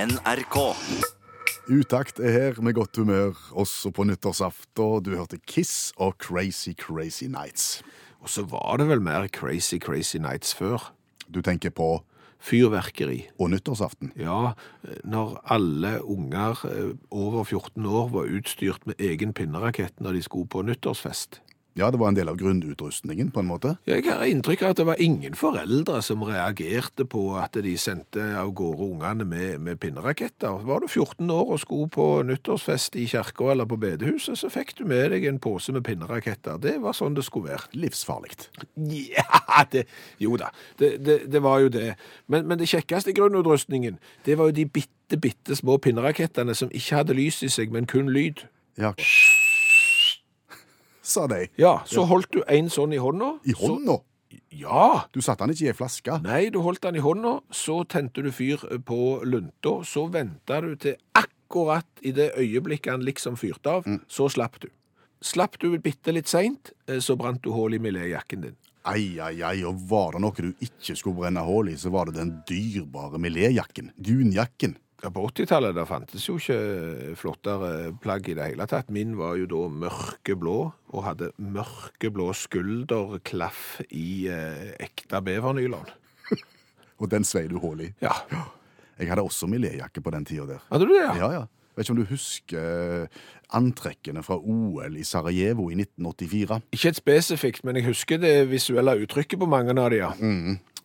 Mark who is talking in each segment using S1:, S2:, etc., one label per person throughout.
S1: NRK.
S2: Utakt er her med godt humør, også på nyttårsaften. Du hørte Kiss og Crazy Crazy Nights.
S3: Og så var det vel mer Crazy Crazy Nights før.
S2: Du tenker på
S3: Fyrverkeri.
S2: og nyttårsaften.
S3: Ja, når alle unger eh, over 14 år var utstyrt med egen pinnerakett når de skulle på nyttårsfest.
S2: Ja, det var en del av grunnutrustningen, på en måte.
S3: Jeg har inntrykk av at det var ingen foreldre som reagerte på at de sendte av gårde ungene med, med pinneraketter. Var du 14 år og skulle på nyttårsfest i kirka eller på bedehuset, så fikk du med deg en pose med pinneraketter. Det var sånn det skulle være.
S2: Livsfarlig.
S3: Ja, det, jo da, det, det, det var jo det. Men, men det kjekkeste i grunnutrustningen, det var jo de bitte, bitte små pinnerakettene som ikke hadde lys i seg, men kun lyd.
S2: Ja. Sa de.
S3: Ja, så holdt du en sånn i hånda.
S2: I hånda!
S3: Så, ja.
S2: Du satte den ikke i ei flaske.
S3: Nei, du holdt den i hånda, så tente du fyr på lunta, så venta du til akkurat i det øyeblikket han liksom fyrte av, så slapp du. Slapp du bitte litt seint, eh, så brant du hull i miléjakken din.
S2: Ai, ai, ai, og var det noe du ikke skulle brenne hull i, så var det den dyrebare miléjakken. Dunjakken.
S3: Ja, På 80-tallet der fantes jo ikke eh, flottere plagg i det hele tatt. Min var jo da mørkeblå, og hadde mørkeblå skulderklaff i eh, ekte bevernylon.
S2: Og den svei du hull i.
S3: Ja.
S2: Jeg hadde også miléjakke på den tida der.
S3: Hadde du det?
S2: Ja, ja. Vet ikke om du husker eh, antrekkene fra OL i Sarajevo i 1984.
S3: Ikke et spesifikt, men jeg husker det visuelle uttrykket på mange av de, ja.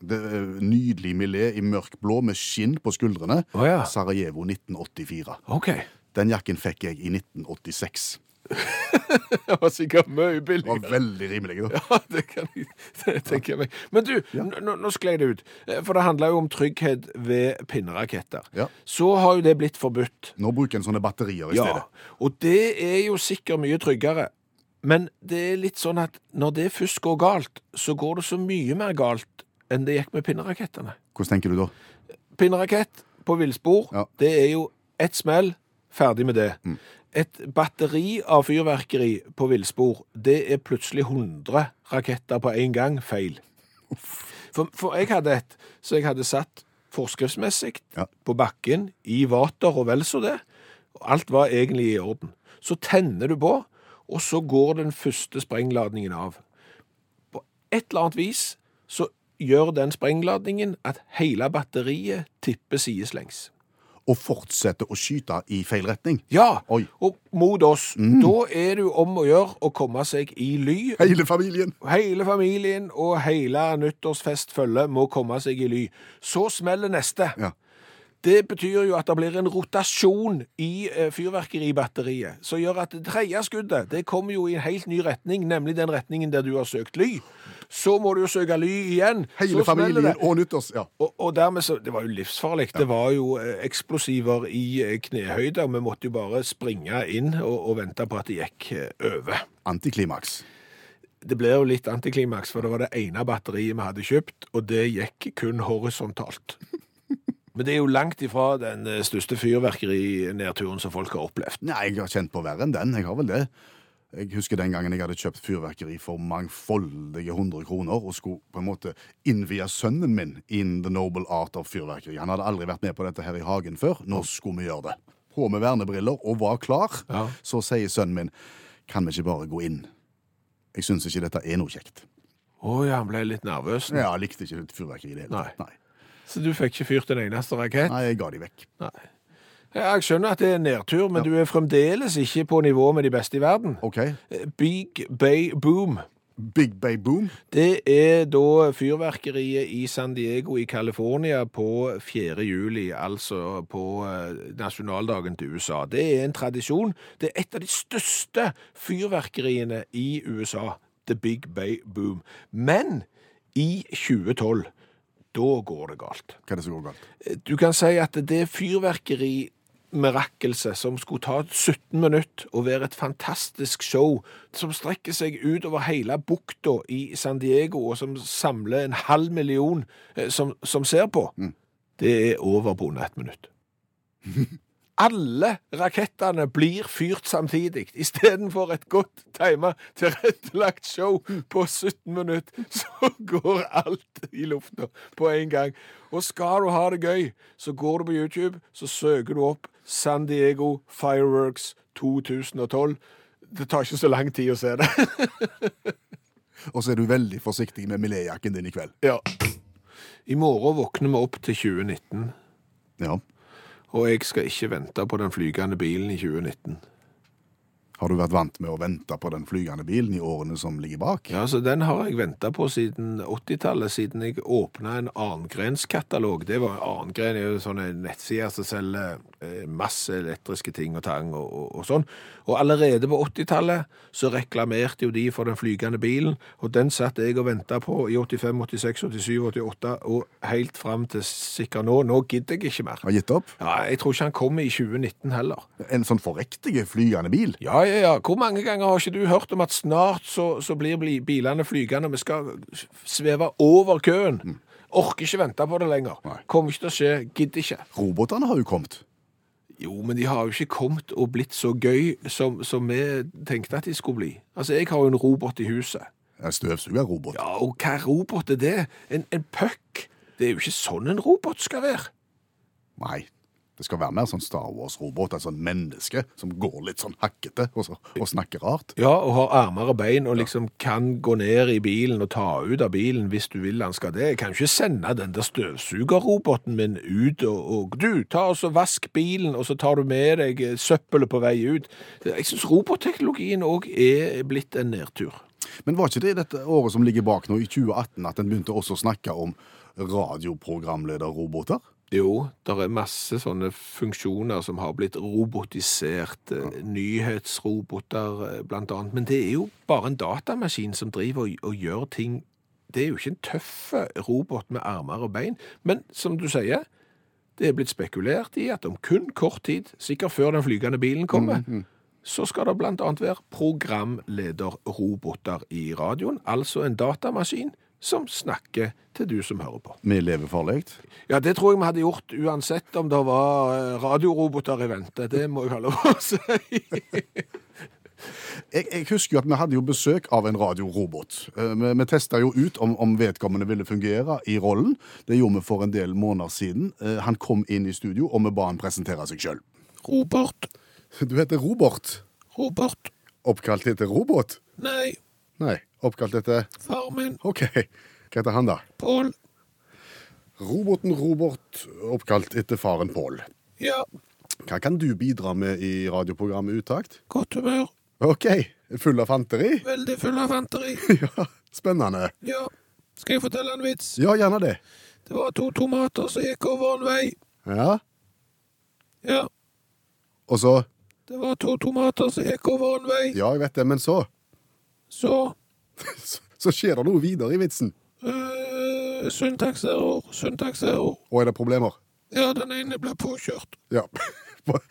S2: Det er Nydelig milé i mørkblå med skinn på skuldrene.
S3: Å ja.
S2: Sarajevo 1984.
S3: OK.
S2: Den jakken fikk jeg i 1986.
S3: Det var sikkert
S2: Det var
S3: mye billigere.
S2: veldig rimelig. jo.
S3: Ja, det kan jeg det tenker jeg meg. Men du, nå, nå sklei det ut. Eh, For det handla jo om trygghet ved pinneraketter.
S2: Ja.
S3: Så har jo det blitt forbudt.
S2: Nå bruker en sånne batterier i
S3: Ja,
S2: stedet.
S3: og det er jo sikkert mye tryggere. Men det er litt sånn at når det først går galt, så går det så mye mer galt enn det gikk med pinnerakettene.
S2: Hvordan tenker du da?
S3: Pinnerakett på villspor,
S2: Ja. Mm.
S3: det er jo ett smell, ferdig med det. Et batteri av fyrverkeri på villspor, det er plutselig 100 raketter på en gang feil. For, for jeg hadde et, så jeg hadde satt forskriftsmessig
S2: Ja.
S3: på bakken i vater og vel så det. Og Alt var egentlig i orden. Så tenner du på, og så går den første sprengladningen av. På et eller annet vis så gjør den sprengladningen at hele batteriet tipper sideslengs.
S2: Å fortsette å skyte i feil retning?
S3: Ja,
S2: Oi. Mm.
S3: og mot oss. Da er det jo om å gjøre å komme seg i ly
S2: Hele familien!
S3: Hele familien og hele nyttårsfestfølget må komme seg i ly. Så smeller neste.
S2: Ja.
S3: Det betyr jo at det blir en rotasjon i eh, fyrverkeribatteriet, som gjør at det tredje skuddet det kommer jo i en helt ny retning, nemlig den retningen der du har søkt ly. Så må du jo søke ly igjen.
S2: Hele
S3: så smeller det.
S2: familien og nyttårs... Ja.
S3: Og, og dermed så, Det var jo livsfarlig. Det var jo eh, eksplosiver i eh, knehøyde, og vi måtte jo bare springe inn og, og vente på at det gikk eh, over.
S2: Antiklimaks.
S3: Det ble jo litt antiklimaks, for det var det ene batteriet vi hadde kjøpt, og det gikk kun horisontalt. Men det er jo langt ifra den eh, største fyrverkerinedturen som folk har opplevd.
S2: Nei, jeg har kjent på verre enn den. Jeg har vel det. Jeg husker den gangen jeg hadde kjøpt fyrverkeri for mangfoldige 100 kroner og skulle på en måte innvie sønnen min in the noble art of fyrverkeri. Han hadde aldri vært med på dette her i hagen før. Nå skulle vi gjøre det. På med vernebriller og var klar.
S3: Ja.
S2: Så sier sønnen min, kan vi ikke bare gå inn? Jeg syns ikke dette er noe kjekt.
S3: Å ja, han ble litt nervøs.
S2: Ja, Jeg likte ikke fyrverkeri i det hele
S3: Nei.
S2: tatt. Nei.
S3: Så du fikk ikke fyrt en eneste rakett?
S2: Nei, jeg ga de vekk.
S3: Ja, jeg skjønner at det er en nedtur, men du er fremdeles ikke på nivå med de beste i verden.
S2: OK.
S3: Eh, Big Bay Boom.
S2: Big Bay Boom.
S3: Det er da fyrverkeriet i San Diego i California på 4. juli, altså på eh, nasjonaldagen til USA. Det er en tradisjon. Det er et av de største fyrverkeriene i USA, The Big Bay Boom. Men i 2012, da går det galt.
S2: Hva er det som går galt?
S3: Eh, Du kan si at det fyrverkerimirakelset som skulle ta 17 minutter og være et fantastisk show, som strekker seg utover hele bukta i San Diego, og som samler en halv million eh, som, som ser på, det er over på under ett minutt. alle rakettene blir fyrt samtidig, istedenfor et godt timet tilrettelagt show på 17 minutter, så går alt i lufta på en gang. Og skal du ha det gøy, så går du på YouTube, så søker du opp San Diego Fireworks 2012. Det tar ikke så lang tid å se det.
S2: Og så er du veldig forsiktig med miléjakken din i kveld.
S3: Ja. I morgen våkner vi opp til 2019,
S2: Ja.
S3: og jeg skal ikke vente på den flygende bilen i 2019.
S2: Har du vært vant med å vente på den flygende bilen i årene som ligger bak?
S3: Ja, så Den har jeg venta på siden 80-tallet, siden jeg åpna en annengrenskatalog. Det var annengren er jo sånne nettsider som selger eh, masse elektriske ting og tang og, og, og sånn. Og allerede på 80-tallet så reklamerte jo de for den flygende bilen, og den satt jeg og venta på i 85, 86, 87, 88 og helt fram til sikkert nå. Nå gidder jeg ikke mer.
S2: Har gitt opp?
S3: Ja, Jeg tror ikke han kommer i 2019 heller.
S2: En sånn forrektige flygende bil?
S3: Ja, ja, ja. Hvor mange ganger har ikke du hørt om at snart så, så blir bli- bilene flygende, og vi skal sveve over køen? Orker ikke vente på det lenger.
S2: Nei.
S3: Kommer ikke til å skje, gidder ikke.
S2: Robotene har jo kommet.
S3: Jo, men de har jo ikke kommet og blitt så gøy som, som vi tenkte at de skulle bli. Altså, jeg har jo en robot i huset.
S2: En støvsugerrobot.
S3: Ja, og hva robot er det? En, en pøkk? Det er jo ikke sånn en robot skal være.
S2: Nei. Det skal være mer sånn Star Wars-robot, et sånn menneske som går litt sånn hakkete og, så, og snakker rart.
S3: Ja, og har armer og bein og liksom kan gå ned i bilen og ta ut av bilen hvis du vil han skal det. Jeg kan ikke sende den der støvsugerroboten min ut og, og Du, ta og så vask bilen, og så tar du med deg eh, søppelet på vei ut. Jeg syns robotteknologien òg er blitt en nedtur.
S2: Men var ikke det i dette året som ligger bak nå, i 2018, at en begynte også å snakke om radioprogramlederroboter?
S3: Jo, det er masse sånne funksjoner som har blitt robotisert. eh, Nyhetsroboter, eh, blant annet. Men det er jo bare en datamaskin som driver og, og gjør ting Det er jo ikke en tøff eh, robot med armer og bein. Men som du sier, det er blitt spekulert i at om kun kort tid, sikkert før den flygende bilen kommer, så skal det blant annet være programlederroboter i radioen. Altså en datamaskin som snakker til du som hører på.
S2: Vi lever farlig.
S3: Ja, det tror jeg vi hadde gjort uansett om det var eh, radioroboter i vente. Det må jeg ha lov å si.
S2: Jeg, jeg husker jo at vi hadde jo besøk av en radiorobot. Eh, Vi, vi testa jo ut om, om vedkommende ville fungere i rollen. Det gjorde vi for en del måneder siden. Eh, Han kom inn i studio, og vi ba han presentere seg sjøl.
S3: Robert.
S2: Du heter Robert.
S3: Robert.
S2: Oppkalt etter robot?
S3: Nei,
S2: Nei, oppkalt etter
S3: far min.
S2: OK. Hva heter han, da?
S3: Pål.
S2: Roboten Robert, oppkalt etter faren Pål.
S3: Ja.
S2: Hva kan du bidra med i radioprogrammet Utakt?
S3: Godt humør.
S2: OK. Full av fanteri?
S3: Veldig full av fanteri.
S2: Ja, spennende.
S3: Ja. Skal jeg fortelle en vits?
S2: Ja, gjerne det.
S3: Det var to tomater som gikk over en vei.
S2: Ja,
S3: Ja.
S2: og så
S3: Det var to tomater som gikk over en vei.
S2: Ja, jeg vet det, men så
S3: Så
S2: Så, så skjer det noe videre i vitsen.
S3: øh, Syntakserror, syntakserror.
S2: Og er det problemer?
S3: Ja, den ene ble påkjørt.
S2: Ja. Bare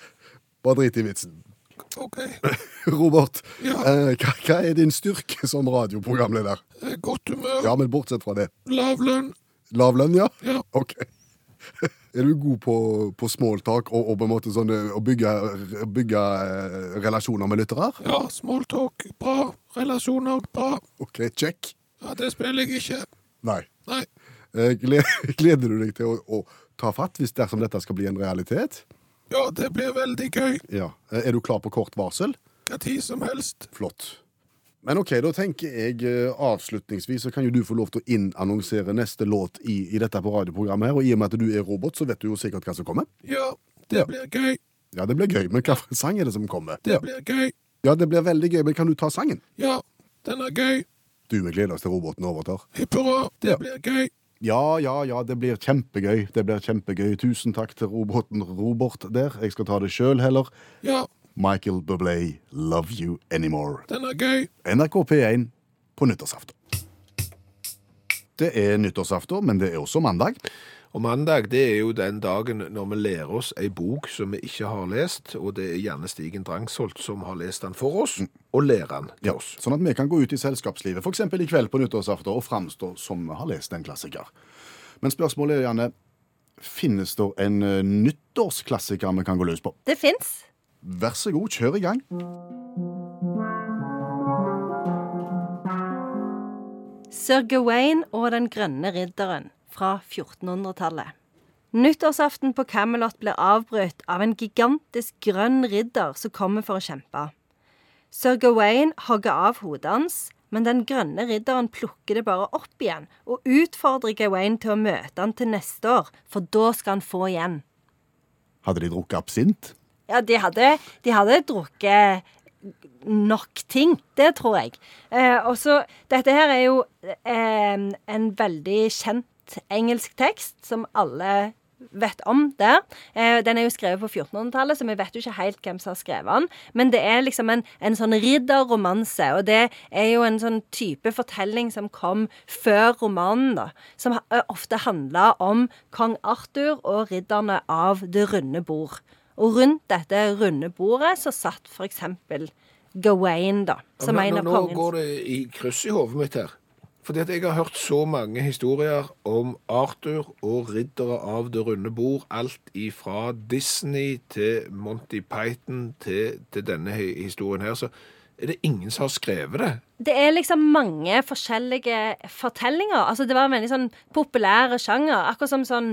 S2: bare drit i vitsen.
S3: OK. Eh,
S2: Robert,
S3: Ja.
S2: eh, hva, hva er din styrke som radioprogramleder?
S3: Eh, Godt humør.
S2: Ja, men bortsett fra det.
S3: Lav lønn.
S2: Lav lønn, ja?
S3: Ja.
S2: Ok. Er du god på, på smalltalk og, og på en måte sånn, eh, å bygge, bygge eh, relasjoner med lyttere?
S3: Ja, smalltalk, bra. Relasjoner, bra.
S2: Ok, check.
S3: Ja, det spiller jeg ikke.
S2: Nei.
S3: Nei.
S2: Eh, gle- Gleder du deg til å, å ta fatt hvis dersom dette skal bli en realitet?
S3: Ja, det blir veldig gøy.
S2: Ja. Eh, Er du klar på kort varsel?
S3: Hva tid som helst.
S2: Flott. Men ok, da tenker jeg eh, avslutningsvis så kan jo du få lov til å innannonsere neste låt i, i dette på radioprogrammet her, og i og med at du er robot, så vet du jo sikkert hva som kommer.
S3: Ja, det
S2: Ja.
S3: blir gøy.
S2: Ja, det blir gøy, men hva for en sang er det som kommer?
S3: Det blir gøy.
S2: Ja, det blir veldig gøy, men kan du ta sangen?
S3: Ja, den er gøy.
S2: Du, vi gleder oss til roboten overtar.
S3: Hipp hurra, det
S2: Ja.
S3: blir gøy.
S2: Ja, ja, ja, det blir kjempegøy. Det blir kjempegøy. Tusen takk til roboten Robert der. Jeg skal ta det sjøl heller.
S3: Ja,
S2: Michael Bublé, Love You Anymore.
S3: den er gøy.
S2: NRK P1 på nyttårsaften. Det er nyttårsaften, men det er også mandag.
S3: Og mandag det er jo den dagen når vi lærer oss ei bok som vi ikke har lest, og det er Janne Stigen Drangsholt som har lest den for oss, og lærer den til oss.
S2: Sånn at vi kan gå ut i selskapslivet, f.eks. i kveld på nyttårsaften, og framstå som vi har lest en klassiker. Men spørsmålet er, Janne, Finnes det en eh, nyttårsklassiker vi kan gå løs på?
S1: Det fins.
S2: Vær så god, kjør i gang.
S1: Sir Gawain og Den grønne ridderen fra 1400-tallet. Nyttårsaften på Camelot blir avbrutt av en gigantisk grønn ridder som kommer for å kjempe. Sir Gawain hogger av hodet hans, men Den grønne ridderen plukker det bare opp igjen og utfordrer Gawain til å møte han til neste år, for da skal han få igjen.
S2: Hadde de drukket absint?
S1: Ja, de hadde, de hadde drukket nok ting. Det tror jeg. Eh, og så Dette her er jo eh, en veldig kjent engelsk tekst som alle vet om der. Eh, den er jo skrevet på 1400-tallet, så vi vet jo ikke helt hvem som har skrevet den. Men det er liksom en, en sånn ridderromanse, og det er jo en sånn type fortelling som kom før romanen, da. Som ha- eh, ofte handla om kong Arthur og ridderne av Det runde bord. Og rundt dette runde bordet så satt for eksempel Gawain, da, som
S3: Nå-
S1: en
S3: nå-
S1: av
S3: Nå går
S1: kongens
S3: det i kryss i hodet mitt her. Fordi at jeg har hørt så mange historier om Arthur og riddere av det runde bord. Alt ifra Disney til Monty Python til, til denne hi- historien her. Så er det ingen som har skrevet det.
S1: Det er liksom mange forskjellige fortellinger. Altså Det var en veldig sånn populære sjanger. Akkurat som sånn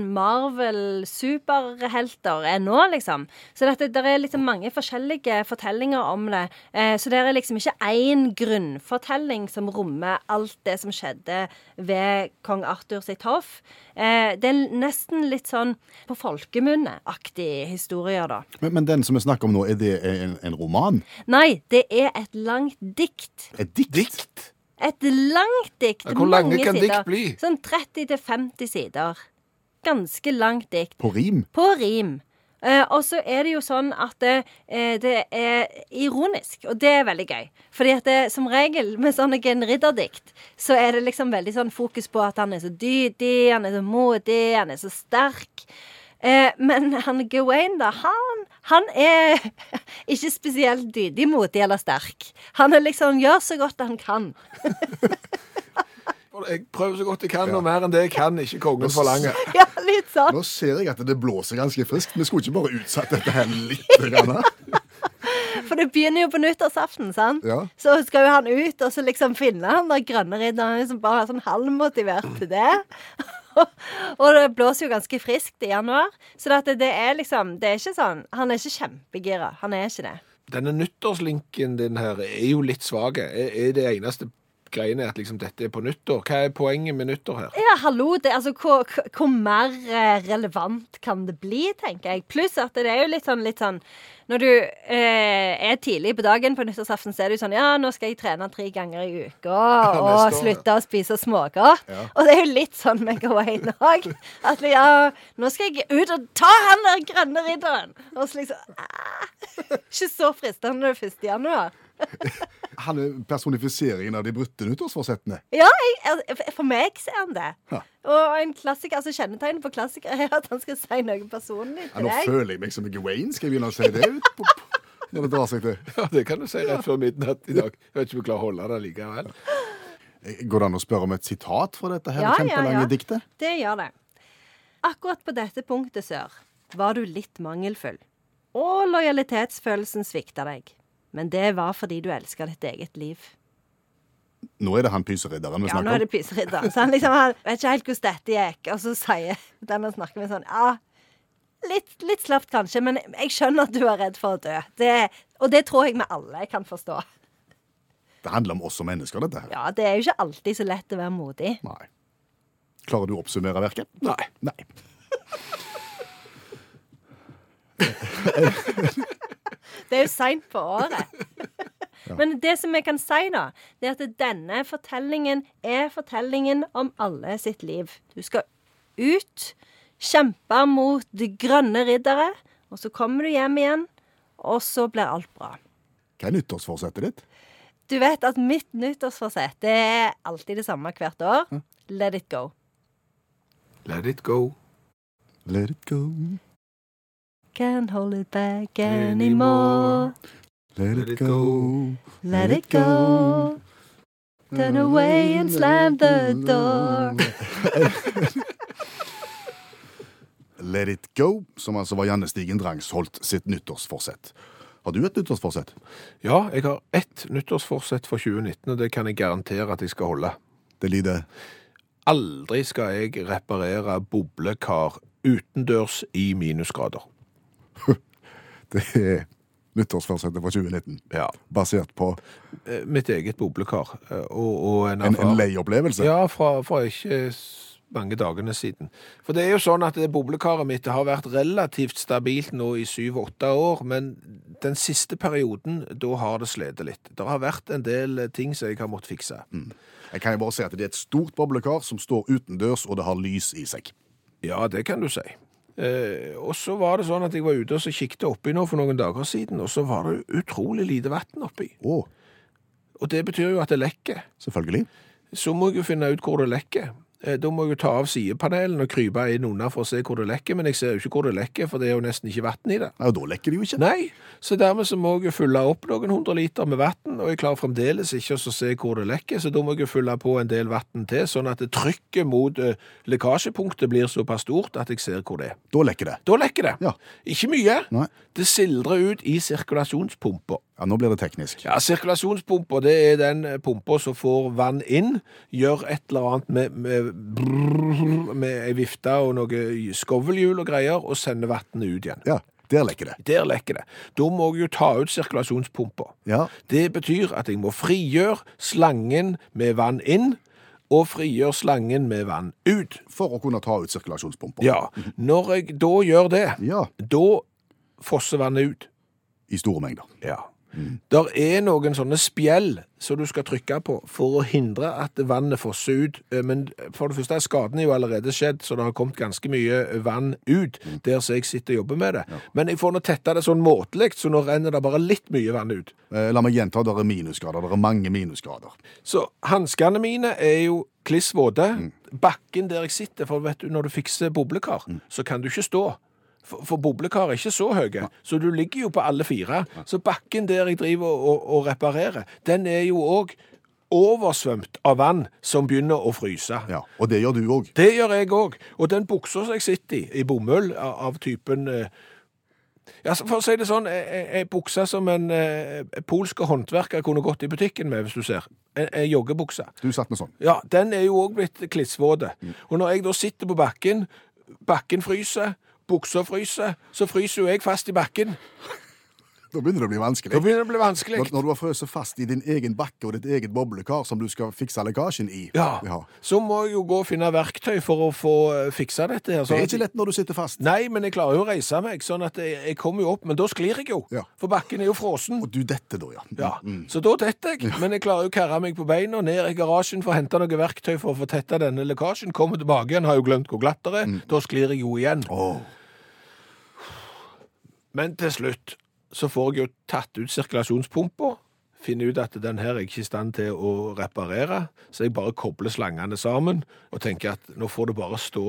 S1: Marvel-superhelter er nå, liksom. Så dette, der er liksom mange forskjellige fortellinger om det. Eh, så det er liksom ikke én grunnfortelling som rommer alt det som skjedde ved kong Arthur sitt hoff. Eh, det er nesten litt sånn på folkemunne-aktige historier, da.
S2: Men, men den som vi snakker om nå, er det en, en roman?
S1: Nei, det er et langt dikt.
S2: Et dikt?
S1: Et langt dikt.
S3: Ja, hvor lange
S1: mange
S3: kan dikt
S1: sider.
S3: bli?
S1: Sånn 30-50 sider. Ganske langt dikt.
S2: På rim?
S1: På rim. Eh, og så er det jo sånn at det, eh, det er ironisk, og det er veldig gøy. Fordi at det, som regel med sånne genridderdikt, så er det liksom veldig sånn fokus på at han er så dydig, han er så modig, han er så sterk. Eh, men han Gawain, da, han, han er ikke spesielt dydig, modig eller sterk. Han er liksom gjør så godt han kan.
S3: Jeg prøver så godt jeg kan, og mer enn det kan ikke kongen forlange.
S1: Ja, litt sånn.
S2: Nå ser jeg at det blåser ganske friskt. Vi skulle ikke bare utsatt dette her litt. Grann.
S1: For det begynner jo på nyttårsaften, sant?
S2: Ja.
S1: Så skal jo han ut og så liksom finne han der grønne ridderen som bare er sånn halvmotivert til det. og det blåser jo ganske friskt i januar, så det, at det er liksom Det er ikke sånn Han er ikke kjempegira. Han er ikke det.
S3: Denne nyttårslinken din her er jo litt svag. Er, er det eneste greiene at liksom dette er på nyttår? Hva er poenget med nyttår her?
S1: Ja, hallo, det, altså hvor, hvor- hvor mer eh, relevant kan det bli, tenker jeg. Pluss at det er jo litt sånn, litt sånn Når du eh, er tidlig på dagen på nyttårsaften, så er det jo sånn Ja, nå skal jeg trene tre ganger i uka og
S3: neste år,
S1: slutte å spise smågodt. Og det er jo litt sånn med Gawain òg. At ja, nå skal jeg ut og ta han der grønne ridderen. Og så liksom ah, Ikke så fristende 1. januar.
S2: Han er personifiseringen av de brutte nyttårsforsettene.
S1: Ja, jeg, altså, for meg så er han det.
S2: Ja.
S1: Og en klassiker, altså Kjennetegnet på klassikere er at han skal si noe personlig
S2: Ja,
S1: til
S2: nå
S1: deg.
S2: føler jeg meg som Gawain. Skal jeg begynne å si det ut? på- på- Når det drar seg til.
S3: Ja, det kan du si rett før midnatt i dag. Jeg vet ikke om jeg klarer å holde det likevel.
S2: Eh, Går det an å spørre om et sitat fra dette her
S1: Ja, ja,
S2: kjempelange
S1: ja.
S2: diktet?
S1: Det gjør det. Akkurat på dette punktet, Sør, var du litt mangelfull. Og lojalitetsfølelsen svikta deg. Men det var fordi du elska ditt eget liv.
S2: Nå er det han pyseridderen vi
S1: Ja, nå
S2: snakker
S1: er
S2: om.
S1: det pyseridder. Så han liksom han vet ikke helt hvordan dette gikk, og så sier den han snakker med, sånn Ja, litt, litt slapt kanskje, men jeg skjønner at du er redd for å dø. Det, og det tror jeg vi alle kan forstå.
S2: Det handler om oss som mennesker, dette her.
S1: Ja, det er jo ikke alltid så lett å være modig.
S2: Nei. Klarer du å oppsummere verket?
S3: Nei.
S2: Nei.
S1: Det er jo seint på året. Men det som jeg kan si, da, det er at denne fortellingen er fortellingen om alle sitt liv. Du skal ut, kjempe mot det grønne riddere, og så kommer du hjem igjen, og så blir alt bra.
S2: Hva er nyttårsforsettet ditt?
S1: Du vet at mitt nyttårsforsett det er alltid det samme hvert år. Let it go.
S3: Let it go.
S2: Let it go,
S1: Can't hold it back anymore.
S2: let it
S3: Let it
S2: go.
S1: Let it go. Turn away and slam the door.
S2: Let It Go, som altså var Janne Stigen Drangsholt sitt nyttårsforsett. Har du et nyttårsforsett?
S3: Ja, jeg har ett nyttårsforsett for 2019, og det kan jeg garantere at jeg skal holde.
S2: Det lyder
S3: Aldri skal jeg reparere boblekar utendørs i minusgrader.
S2: Det er nyttårsforsettet for 2019,
S3: Ja.
S2: basert på
S3: Eh, Mitt eget boblekar. eh, Og, og en,
S2: en,
S3: erfaring-
S2: en lei opplevelse.
S3: Ja, fra, fra ikke s- mange dagene siden. For det er jo sånn at det boblekaret mitt det har vært relativt stabilt nå i syv-åtte år, men den siste perioden, da har det slitt litt. Det har vært en del eh, ting som jeg har måttet fikse.
S2: Jeg kan jo bare si at det er et stort boblekar som står utendørs, og det har lys i seg.
S3: Ja, det kan du si. Eh, og så var det sånn at jeg var ute og så kikket oppi nå for noen dager siden, og så var det utrolig lite vann oppi.
S2: Å,
S3: Og det betyr jo at det lekker.
S2: selvfølgelig.
S3: Så må jeg jo finne ut hvor det lekker. Eh, Da må jeg jo ta av sidepanelen og krype inn under for å se hvor det lekker, men jeg ser jo ikke hvor det lekker, for det er jo nesten ikke vann i det.
S2: Nei, og da lekker det jo ikke.
S3: Nei, så dermed så må jeg jo fylle opp noen hundre liter med vann, og jeg klarer fremdeles ikke å se hvor det lekker, så da må jeg jo fylle på en del vann til, sånn at det trykket mot eh, lekkasjepunktet blir såpass stort at jeg ser hvor det er.
S2: Da lekker det.
S3: Da lekker det.
S2: Ja.
S3: Ikke mye.
S2: Nei.
S3: Det sildrer ut i sirkulasjonspumpa.
S2: Ja, nå blir det teknisk.
S3: Ja, sirkulasjonspumpa det er den pumpa som får vann inn, gjør et eller annet med, med, brrrr, med ei vifte og noe skovelhjul og greier, og sender vannet ut igjen.
S2: Ja, der lekker det.
S3: Der lekker det. Da må jeg jo ta ut sirkulasjonspumpa.
S2: Ja,
S3: Det betyr at jeg må frigjøre slangen med vann inn, og frigjøre slangen med vann ut.
S2: for å kunne ta ut sirkulasjonspumper.
S3: Ja, Når jeg da gjør det,
S2: Mhm. Ja,
S3: da fosser vannet ut.
S2: i store mengder.
S3: Ja. Der er noen sånne spjell som du skal trykke på for å hindre at vannet fosser ut. Eh, Men for det første er skaden jo allerede skjedd, så det har kommet ganske mye eh, vann ut der som jeg sitter og jobber med det. Men jeg får nå tetta det sånn måtelig, så nå renner det bare litt mye vann ut.
S2: Eh, La meg gjenta, det er minusgrader. Det er mange minusgrader.
S3: Så hanskene mine er jo kliss våte. Bakken der jeg sitter, for vet du, når du fikser boblekar, så kan du ikke stå. For, for boblekar er ikke så høye, så du ligger jo på alle fire. Så bakken der jeg driver og, og, og reparerer, den er jo òg oversvømt av vann som begynner å fryse.
S2: Ja, og det gjør du òg.
S3: Det gjør jeg òg. Og den buksa som jeg sitter i, i bomull, av, av typen eh, ja, så For å si det sånn, ei ei- ei bukse som en eh, polsk håndverker kunne gått i butikken med, hvis du ser. Ei ei joggebukse.
S2: Du satt med sånn.
S3: Ja, den er jo òg blitt klissvåt.
S2: Mm.
S3: Og når jeg da sitter på bakken, bakken fryser, buksa fryser, så fryser jo jeg fast i bakken.
S2: Da begynner det å bli
S3: Da
S2: vanskelig.
S3: begynner det å bli vanskelig.
S2: Når, når du har frøset fast i din egen bakke og ditt eget boblekar som du skal fikse lekkasjen i.
S3: Ja. Så må jeg jo gå og finne verktøy for å få eh, fiksa dette her.
S2: Det
S3: sånn
S2: er
S3: at-
S2: ikke lett når du sitter fast.
S3: Nei, men jeg klarer jo å reise meg, sånn at jeg, jeg kommer jo opp, men da sklir jeg jo.
S2: Ja.
S3: For bakken er jo frossen.
S2: Og Mm. du detter da, ja.
S3: Ja, Så da detter jeg, men jeg klarer jo å kære meg på beina, ned i garasjen for å hente noe verktøy for å få tetta denne lekkasjen. Kommer tilbake igjen, har jo glemt hvor glatt det er.
S2: Mm.
S3: Da sklir jeg jo igjen.
S2: Åh.
S3: Men til slutt så får jeg jo tatt ut sirkulasjonspumpa. Finner ut at den her er jeg ikke i stand til å reparere, så jeg bare kobler slangene sammen og tenker at nå får det bare stå.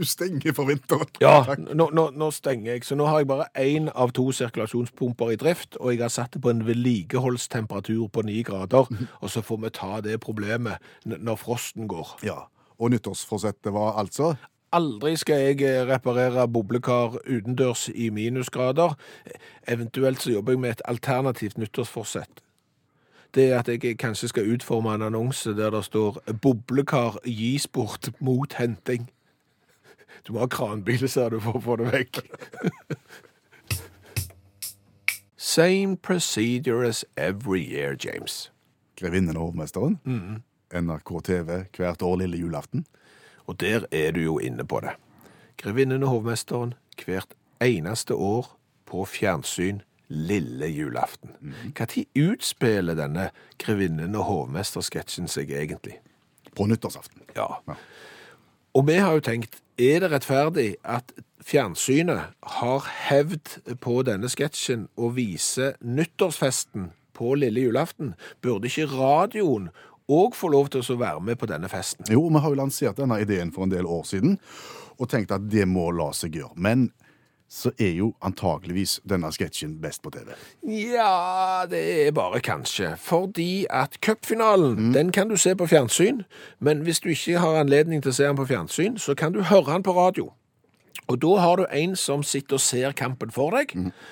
S2: Du stenger for vinteren.
S3: Ja,
S2: Takk.
S3: nå, nå, nå stenger jeg, så nå har jeg bare én av to sirkulasjonspumper i drift, og jeg har satt det på en vedlikeholdstemperatur på ni grader, og så får vi ta det problemet n- når frosten går.
S2: Ja. Og nyttårsforsettet var altså
S3: Aldri skal jeg eh, reparere boblekar utendørs i minusgrader. Eventuelt så jobber jeg med et alternativt nyttårsforsett. Det er at jeg kanskje skal utforme en annonse der det står 'Boblekar gis bort mot henting'. Du må ha kranbil, ser du, for å få det vekk. Same procedure as every year, James.
S2: Grevinnen og hovmesteren. NRK TV hvert år lille julaften.
S3: Og der er du jo inne på det. Grevinnen og hovmesteren hvert eneste år på fjernsyn lille julaften. Hva tid utspiller denne grevinnen og hovmestersketsjen seg egentlig?
S2: På nyttårsaften.
S3: Ja.
S2: Ja.
S3: Og vi har jo tenkt, er det rettferdig at fjernsynet har hevd på denne sketsjen og viser nyttårsfesten på lille julaften? Burde ikke radioen òg få lov til å være med på denne festen?
S2: Jo, vi har jo lansert denne ideen for en del år siden, og tenkt at det må la seg gjøre. Men så er jo antakeligvis denne sketsjen best på TV.
S3: Ja, det er bare kanskje. Fordi at cupfinalen, den kan du se på fjernsyn. Men hvis du ikke har anledning til å se den på fjernsyn, så kan du høre den på radio. Og da har du en som sitter og ser kampen for deg,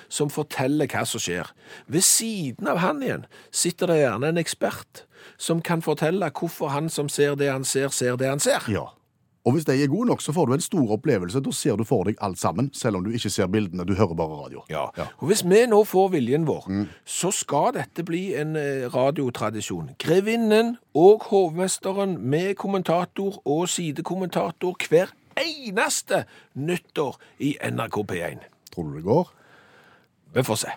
S3: som forteller hva som skjer. Ved siden av han igjen sitter det gjerne en ekspert som kan fortelle hvorfor han som ser det han ser, ser det han ser.
S2: Ja. Og hvis de er gode nok, så får du en stor opplevelse. Da ser du for deg alt sammen, selv om du ikke ser bildene. Du hører bare radio.
S3: Ja. Og hvis vi nå får viljen vår, så skal dette bli en eh, radiotradisjon. Grevinnen og hovmesteren med kommentator og sidekommentator hver eneste nyttår i NRK P1.
S2: Tror du det går?
S3: Vi får se.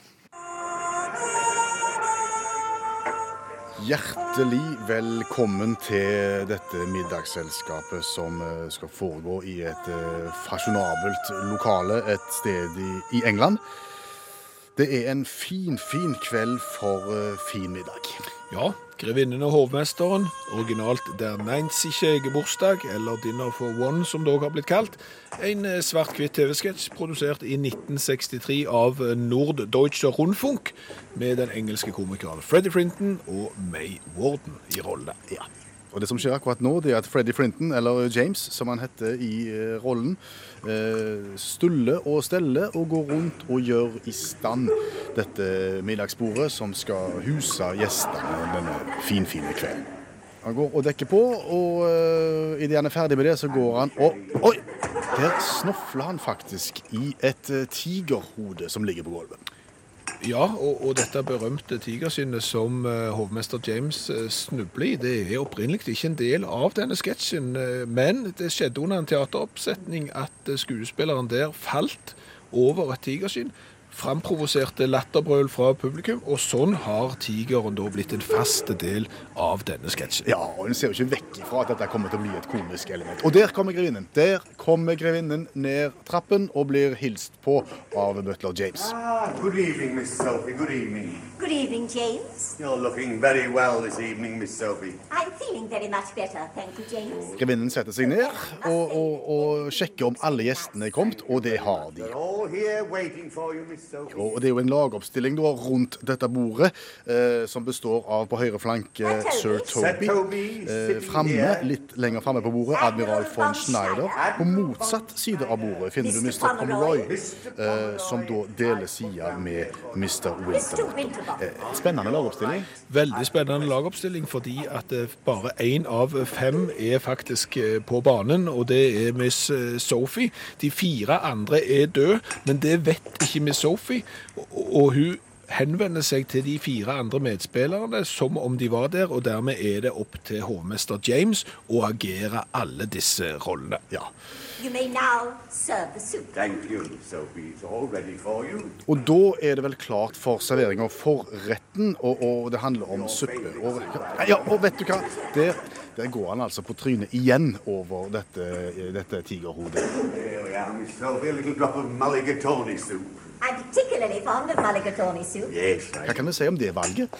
S2: Hjertelig velkommen til dette middagsselskapet som eh, skal foregå i et eh, fasjonabelt lokale et sted i, i England. Det er en fin, fin kveld for eh, fin middag.
S3: Ja, Grevinnen og hovmesteren, originalt Der Nancy ikke eier bursdag, eller Dinner for One, som det også har blitt kalt. En eh, svart-hvitt TV-sketsj produsert i 1963 av eh, Norddeutscher Rundfunk, med den engelske komikeren Freddy Frinton og May Warden i rollene.
S2: Ja. Og det som skjer akkurat nå, det er at Freddy Frinton, eller James, som han heter i eh, rollen, eh, stuller og steller og går rundt og gjør i stand dette middagsbordet som skal huse gjestene denne finfine kvelden. Han går og dekker på, og eh, idet han er ferdig med det, så går han og Oi! Der snofler han faktisk i et eh, tigerhode som ligger på gulvet.
S3: Ja, og, og dette berømte tigerskinnet som eh, hovmester James eh, snubler i, det er opprinnelig ikke en del av denne sketsjen, eh, men det skjedde under en teateroppsetning at eh, skuespilleren der falt over et tigerskinn, framprovoserte latterbrøl fra publikum, og sånn har tigeren da blitt en fast del av denne sketsjen.
S2: Ja, og hun ser jo ikke vekk ifra at dette kommer til å bli et komisk element. Og der kommer grevinnen. Der kommer grevinnen ned trappen og blir hilst på av butler James.
S4: Ah, good evening, Miss Sophie. Good evening.
S5: Good evening, James.
S4: You're looking very well this evening, Miss Sophie.
S5: I'm feeling very much better, thank you, James.
S2: Grevinnen setter seg ned og, og, og sjekker om alle gjestene er kommet, og det har de.
S4: They're all here waiting for you, Miss Sophie.
S2: Og det er jo en lagoppstilling da, rundt dette bordet, eh, som består av på høyre flanke sir
S4: Sir
S2: Toby.
S4: Toby,
S2: Eh,
S4: sitting
S2: framme,
S4: here.
S2: litt lenger framme på bordet, admiral von Schneider. På motsatt side av bordet finner du Mr. Pomeroy, eh, som da deler sida med Mr.
S5: Mr.
S2: Winter.
S5: Winterbottom.
S2: Eh, Spennende lagoppstilling.
S3: Veldig spennende lagoppstilling, fordi at eh, bare én av fem er faktisk eh, på banen, og det er Miss eh, Sophie. De fire andre er døde, men det vet ikke Miss Sophie, og, og hun henvender seg til de fire andre medspillerne som om de var der, og dermed er det opp til hovmester James å agere alle disse rollene.
S2: Ja.
S5: You may now serve the soup.
S4: Thank you, Miss Sophie. It's all ready for you.
S2: Og da er det vel klart for serveringa for retten, og, og det handler om suppe. Og, ja, og vet du hva? Der, der går han altså på trynet igjen over dette, dette tigerhodet.
S4: Here we are, Miss Sophie. A little drop of mulligatawny soup.
S5: I'm particularly fond of mulligatawny soup.
S4: Yes, I
S2: Hva kan vi si om det valget?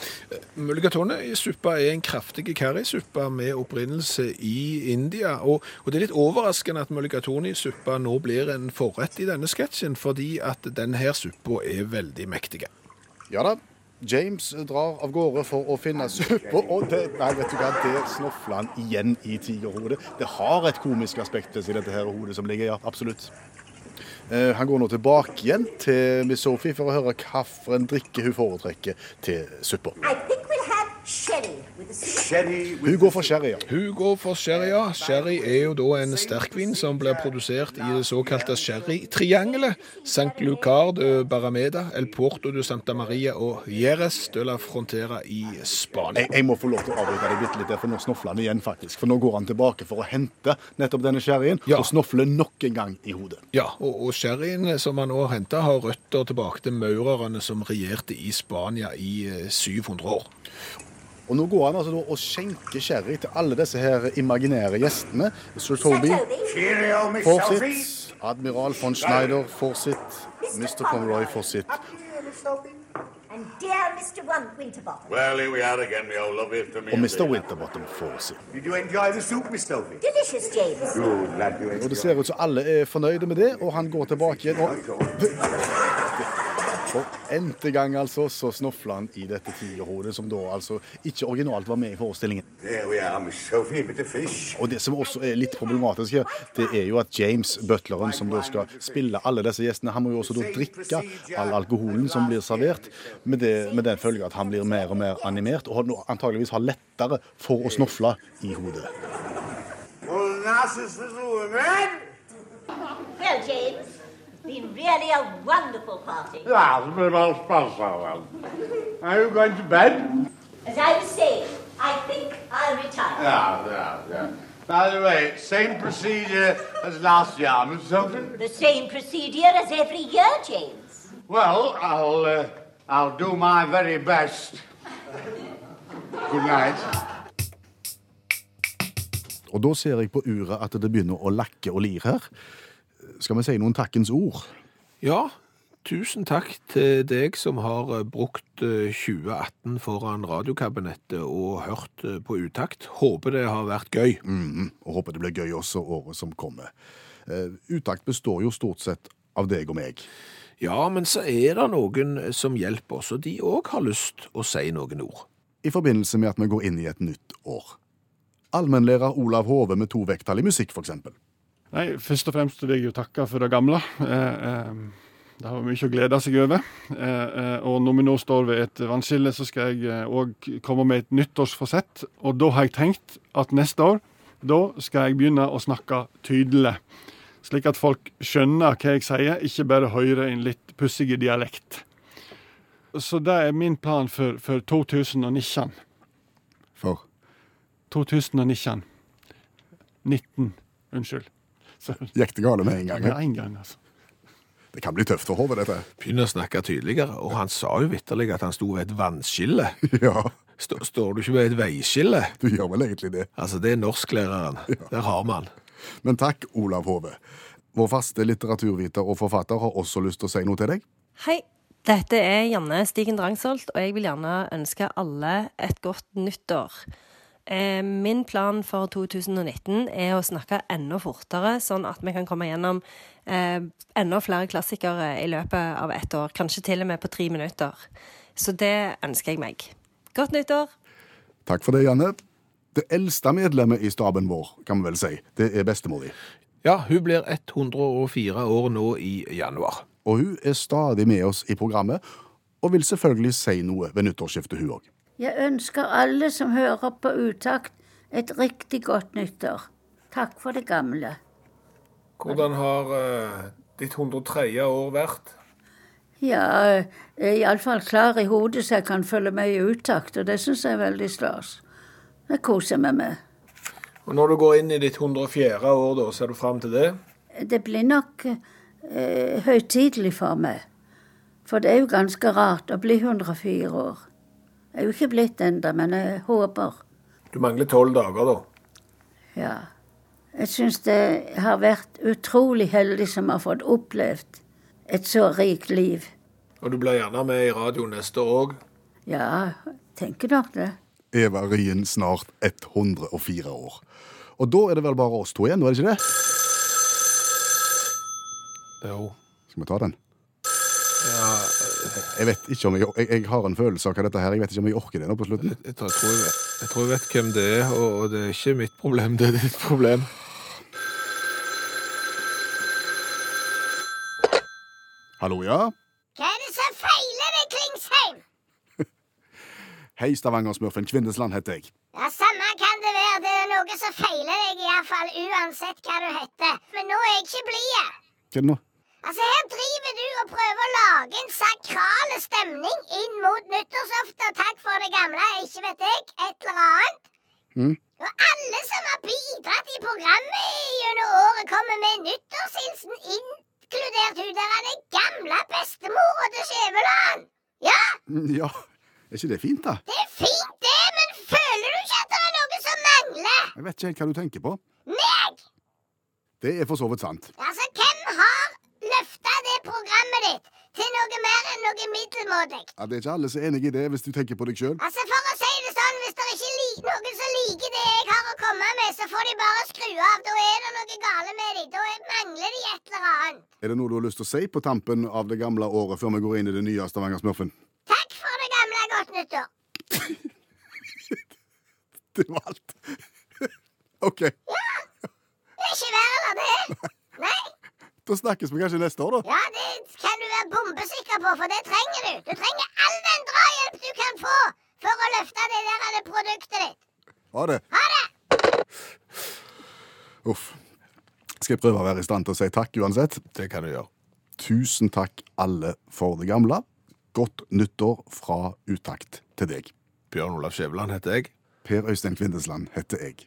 S3: Mulligatone i suppa er en kraftig currysuppe med opprinnelse i India. Og, og det er litt overraskende at mulligatone i suppa nå blir en forrett i denne sketsjen, fordi at denne suppa er veldig mektig.
S2: Ja da. James drar av gårde for å finne suppe, og det, nei, vet du hva, det snofler han igjen i tigerhodet. Det har et komisk aspekt ved seg, dette her hodet som ligger, ja, absolutt. Eh, han går nå tilbake igjen til Miss Sophie for å høre hvilken drikke hun foretrekker til suppa.
S5: I think we'll have sherry with the soup.
S4: Sherry with
S2: Hun går for sherry, ja.
S3: Hun går for sherry, ja. Sherry er jo da en sterkvin som blir produsert i det såkalte sherrytriangelet. St. Lucard de Barameda, El Porto de Santa Maria og Jerez de la Frontera i Spania.
S2: Jeg, jeg må få lov til å avbryte deg bitte litt, der, for nå snofler han igjen, faktisk. For nå går han tilbake for å hente nettopp denne sherryen,
S3: Ja.
S2: og snofler nok en gang i hodet.
S3: Ja, og, og sherryen som han nå henta, har røtter tilbake til maurerne som regjerte i Spania i eh, 700 år.
S2: Og nå går han altså da og skjenker sherry til alle disse her imaginære gjestene. Sir Toby
S4: Cheerio, Miss
S2: får
S4: Sophie.
S2: sitt. Admiral von Schneider får sitt. Mr. Pomeroy får sitt.
S4: Here, Miss Sophie.
S5: And dear Mr. One Winterbottom.
S4: Well, here we are again, my old love. It's a
S2: Og
S4: meal
S2: Mr.
S4: deal.
S2: Winterbottom får sitt.
S4: Did you enjoy the soup, Miss Sophie?
S5: Delicious, James.
S4: Good, lad, you
S2: Og det
S4: enjoyed
S2: ser ut som alle er fornøyde med det, og han går tilbake igjen og
S4: it.
S2: For n-te gang altså, så snofla han i dette tigerhodet, som da altså ikke originalt var med i forestillingen.
S4: There we are, Miss Sophie, with the fish.
S2: Og det som også er litt problematisk her, det er jo at James, butleren, som da skal spille alle disse gjestene, han må jo også da drikke all alkoholen som blir servert, med, det, med den følge at han blir mer og mer animert, og nå antageligvis har lettere for å snofle i hodet.
S4: Well, Narcissus, little woman.
S5: Well, James, it's been really a wonderful party.
S6: That's been all special. Ah, Are you going to bed?
S5: As I was saying, I think I'll retire.
S6: Yeah, yeah, yeah. By the way, same procedure as last year, Miss Sophie.
S5: The same procedure as every year, James.
S6: Well, I'll, uh, I'll do my very best. Good night.
S2: Og da ser jeg på uret at det begynner å lakke og lir her. Skal vi si noen takkens ord?
S3: Ja, tusen takk til deg som har eh, brukt eh, 2018 foran radiokabinettet og hørt eh, på utakt. Håper det har vært gøy.
S2: og håper det blir gøy også året som kommer. Eh, Utakt består jo stort sett av deg og meg.
S3: Ja, men så er det noen eh, som hjelper oss, og de òg har lyst å si noen ord.
S2: I forbindelse med at vi går inn i et nytt år. Allmennlærer Olav Hove med to vekttall i musikk, for eksempel.
S7: Nei, først og fremst vil jeg jo takke for det gamle. Eh, eh, det har vært mye å glede seg over. Eh, eh, og når vi nå står ved et vannskille, så skal jeg òg komme med et nyttårsforsett. Og da har jeg tenkt at neste år, da skal jeg begynne å snakke tydelig. Slik at folk skjønner hva jeg sier, ikke bare hører en litt pussig dialekt. Så det er min plan for, for 2019.
S2: For
S7: 2019. 19. Unnskyld. Så,
S2: gikk det gale med en gang.
S7: med en gang, altså.
S2: Det kan bli tøft for Hove, dette.
S3: Begynner å snakke tydeligere, og han sa jo vitterlig at han sto ved et vannskille.
S2: Ja,
S3: Stå- Står du ikke ved et veiskille?
S2: du gjør vel egentlig det.
S3: Altså, det er norsklæreren. Der har man.
S2: Men takk, Olav Hove. Vår faste litteraturviter og forfatter har også lyst til å si noe til deg.
S8: Hei, dette er Janne Stigen Drangsholt, og jeg vil gjerne ønske alle et godt nyttår. Eh, Min plan for 2019 er å snakke enda fortere, sånn at vi kan komme gjennom eh, enda flere klassikere i løpet av ett år. Kanskje til og med på tre minutter. Så det ønsker jeg meg. Godt nyttår!
S2: Takk for det, Janne. Det eldste medlemmet i staben vår, kan vi vel si, det er bestemor di.
S3: Ja, hun blir 104 år nå i januar.
S2: og hun er stadig med oss i programmet, og vil selvfølgelig si noe ved nyttårsskiftet hun òg.
S9: Jeg ønsker alle som hører på Utakt, et riktig godt nyttår. Takk for det gamle.
S10: Hvordan har eh, ditt 103. år vært?
S9: Ja, jeg er iallfall klar i hodet så jeg kan følge med i Utakt, og det syns jeg er veldig stas. Det koser jeg meg med.
S10: Og Når du går inn i ditt 104. år, da, ser du fram til det?
S9: Det blir nok eh, høytidelig for meg. For det er jo ganske rart å bli 104 år. Jeg er jo ikke blitt ennå, men jeg håper.
S10: Du mangler tolv dager, da.
S9: Ja. Jeg syns det har vært utrolig heldig som har fått opplevd et så rikt liv.
S10: Og du blir gjerne med i radioen neste år òg.
S9: Ja, tenker nok det.
S2: Eva Ryen snart 104 år. Og da er det vel bare oss to igjen, nå er det ikke det?
S3: Jo.
S2: Skal vi ta den? Jeg vet ikke om jeg, jeg, jeg har en følelse av hva dette her, jeg vet ikke om jeg orker det nå på slutten.
S3: Jeg tror jeg, vet, jeg tror jeg vet hvem det er, og, og det er ikke mitt problem, det er ditt problem.
S2: Hallo, ja?
S5: Hva er det som feiler ved Klingsheim?
S2: Hei, Stavanger-smurfen. Kvindesland heter jeg.
S5: Ja, Samme kan det være. Det er noe som feiler deg, iallfall. Uansett hva du heter. Men nå er jeg ikke blid.
S2: Hva er det nå?
S5: Altså, her driver du og prøver å lage en sakral stemning inn mot nyttårsaften. og Takk for det gamle, ikke vet jeg. Et eller annet. Og alle som har bidratt i programmet gjennom året, kommer med nyttårshilsen, inkludert hun der den gamle bestemora til Skjæveland. Ja,
S2: Mm, Ja, er ikke det fint, da?
S5: det er fint, det, men føler du ikke at det er noe som mangler?
S2: Jeg vet ikke helt hva du tenker på.
S5: Meg!
S2: Det er for så vidt sant.
S5: Altså, hvem har løfta det programmet ditt til noe mer enn noe middelmådig.
S2: Ja, det er ikke alle som er enig i det, hvis du tenker på deg sjøl.
S5: Altså, for å si det sånn, hvis det ikke er li- noen som liker det jeg har å komme med, så får de bare skru av. Da er det noe gale med de. Da er- mangler de et eller annet.
S2: Er det noe du har lyst til å si på tampen av det gamle året før vi går inn i det nye Stavanger-smurfen?
S5: Takk for det gamle Godt nyttår.
S2: Det var alt. OK.
S5: Det er ikke verre enn det. Nei.
S2: Da snakkes vi kanskje neste år, da.
S5: Ja, det kan du være bombesikker på, for det trenger du. Du trenger all den drahjelp du kan få for å løfte det der av det produktet ditt.
S2: Ha det.
S5: Ha det!
S2: Uff. Skal jeg prøve å være i stand til å si takk uansett?
S3: Det kan du gjøre.
S2: Tusen takk alle for det gamle. Godt nyttår fra utakt til deg.
S3: Bjørn Olav Skjæveland heter jeg.
S2: Per Øystein Kvindesland heter jeg.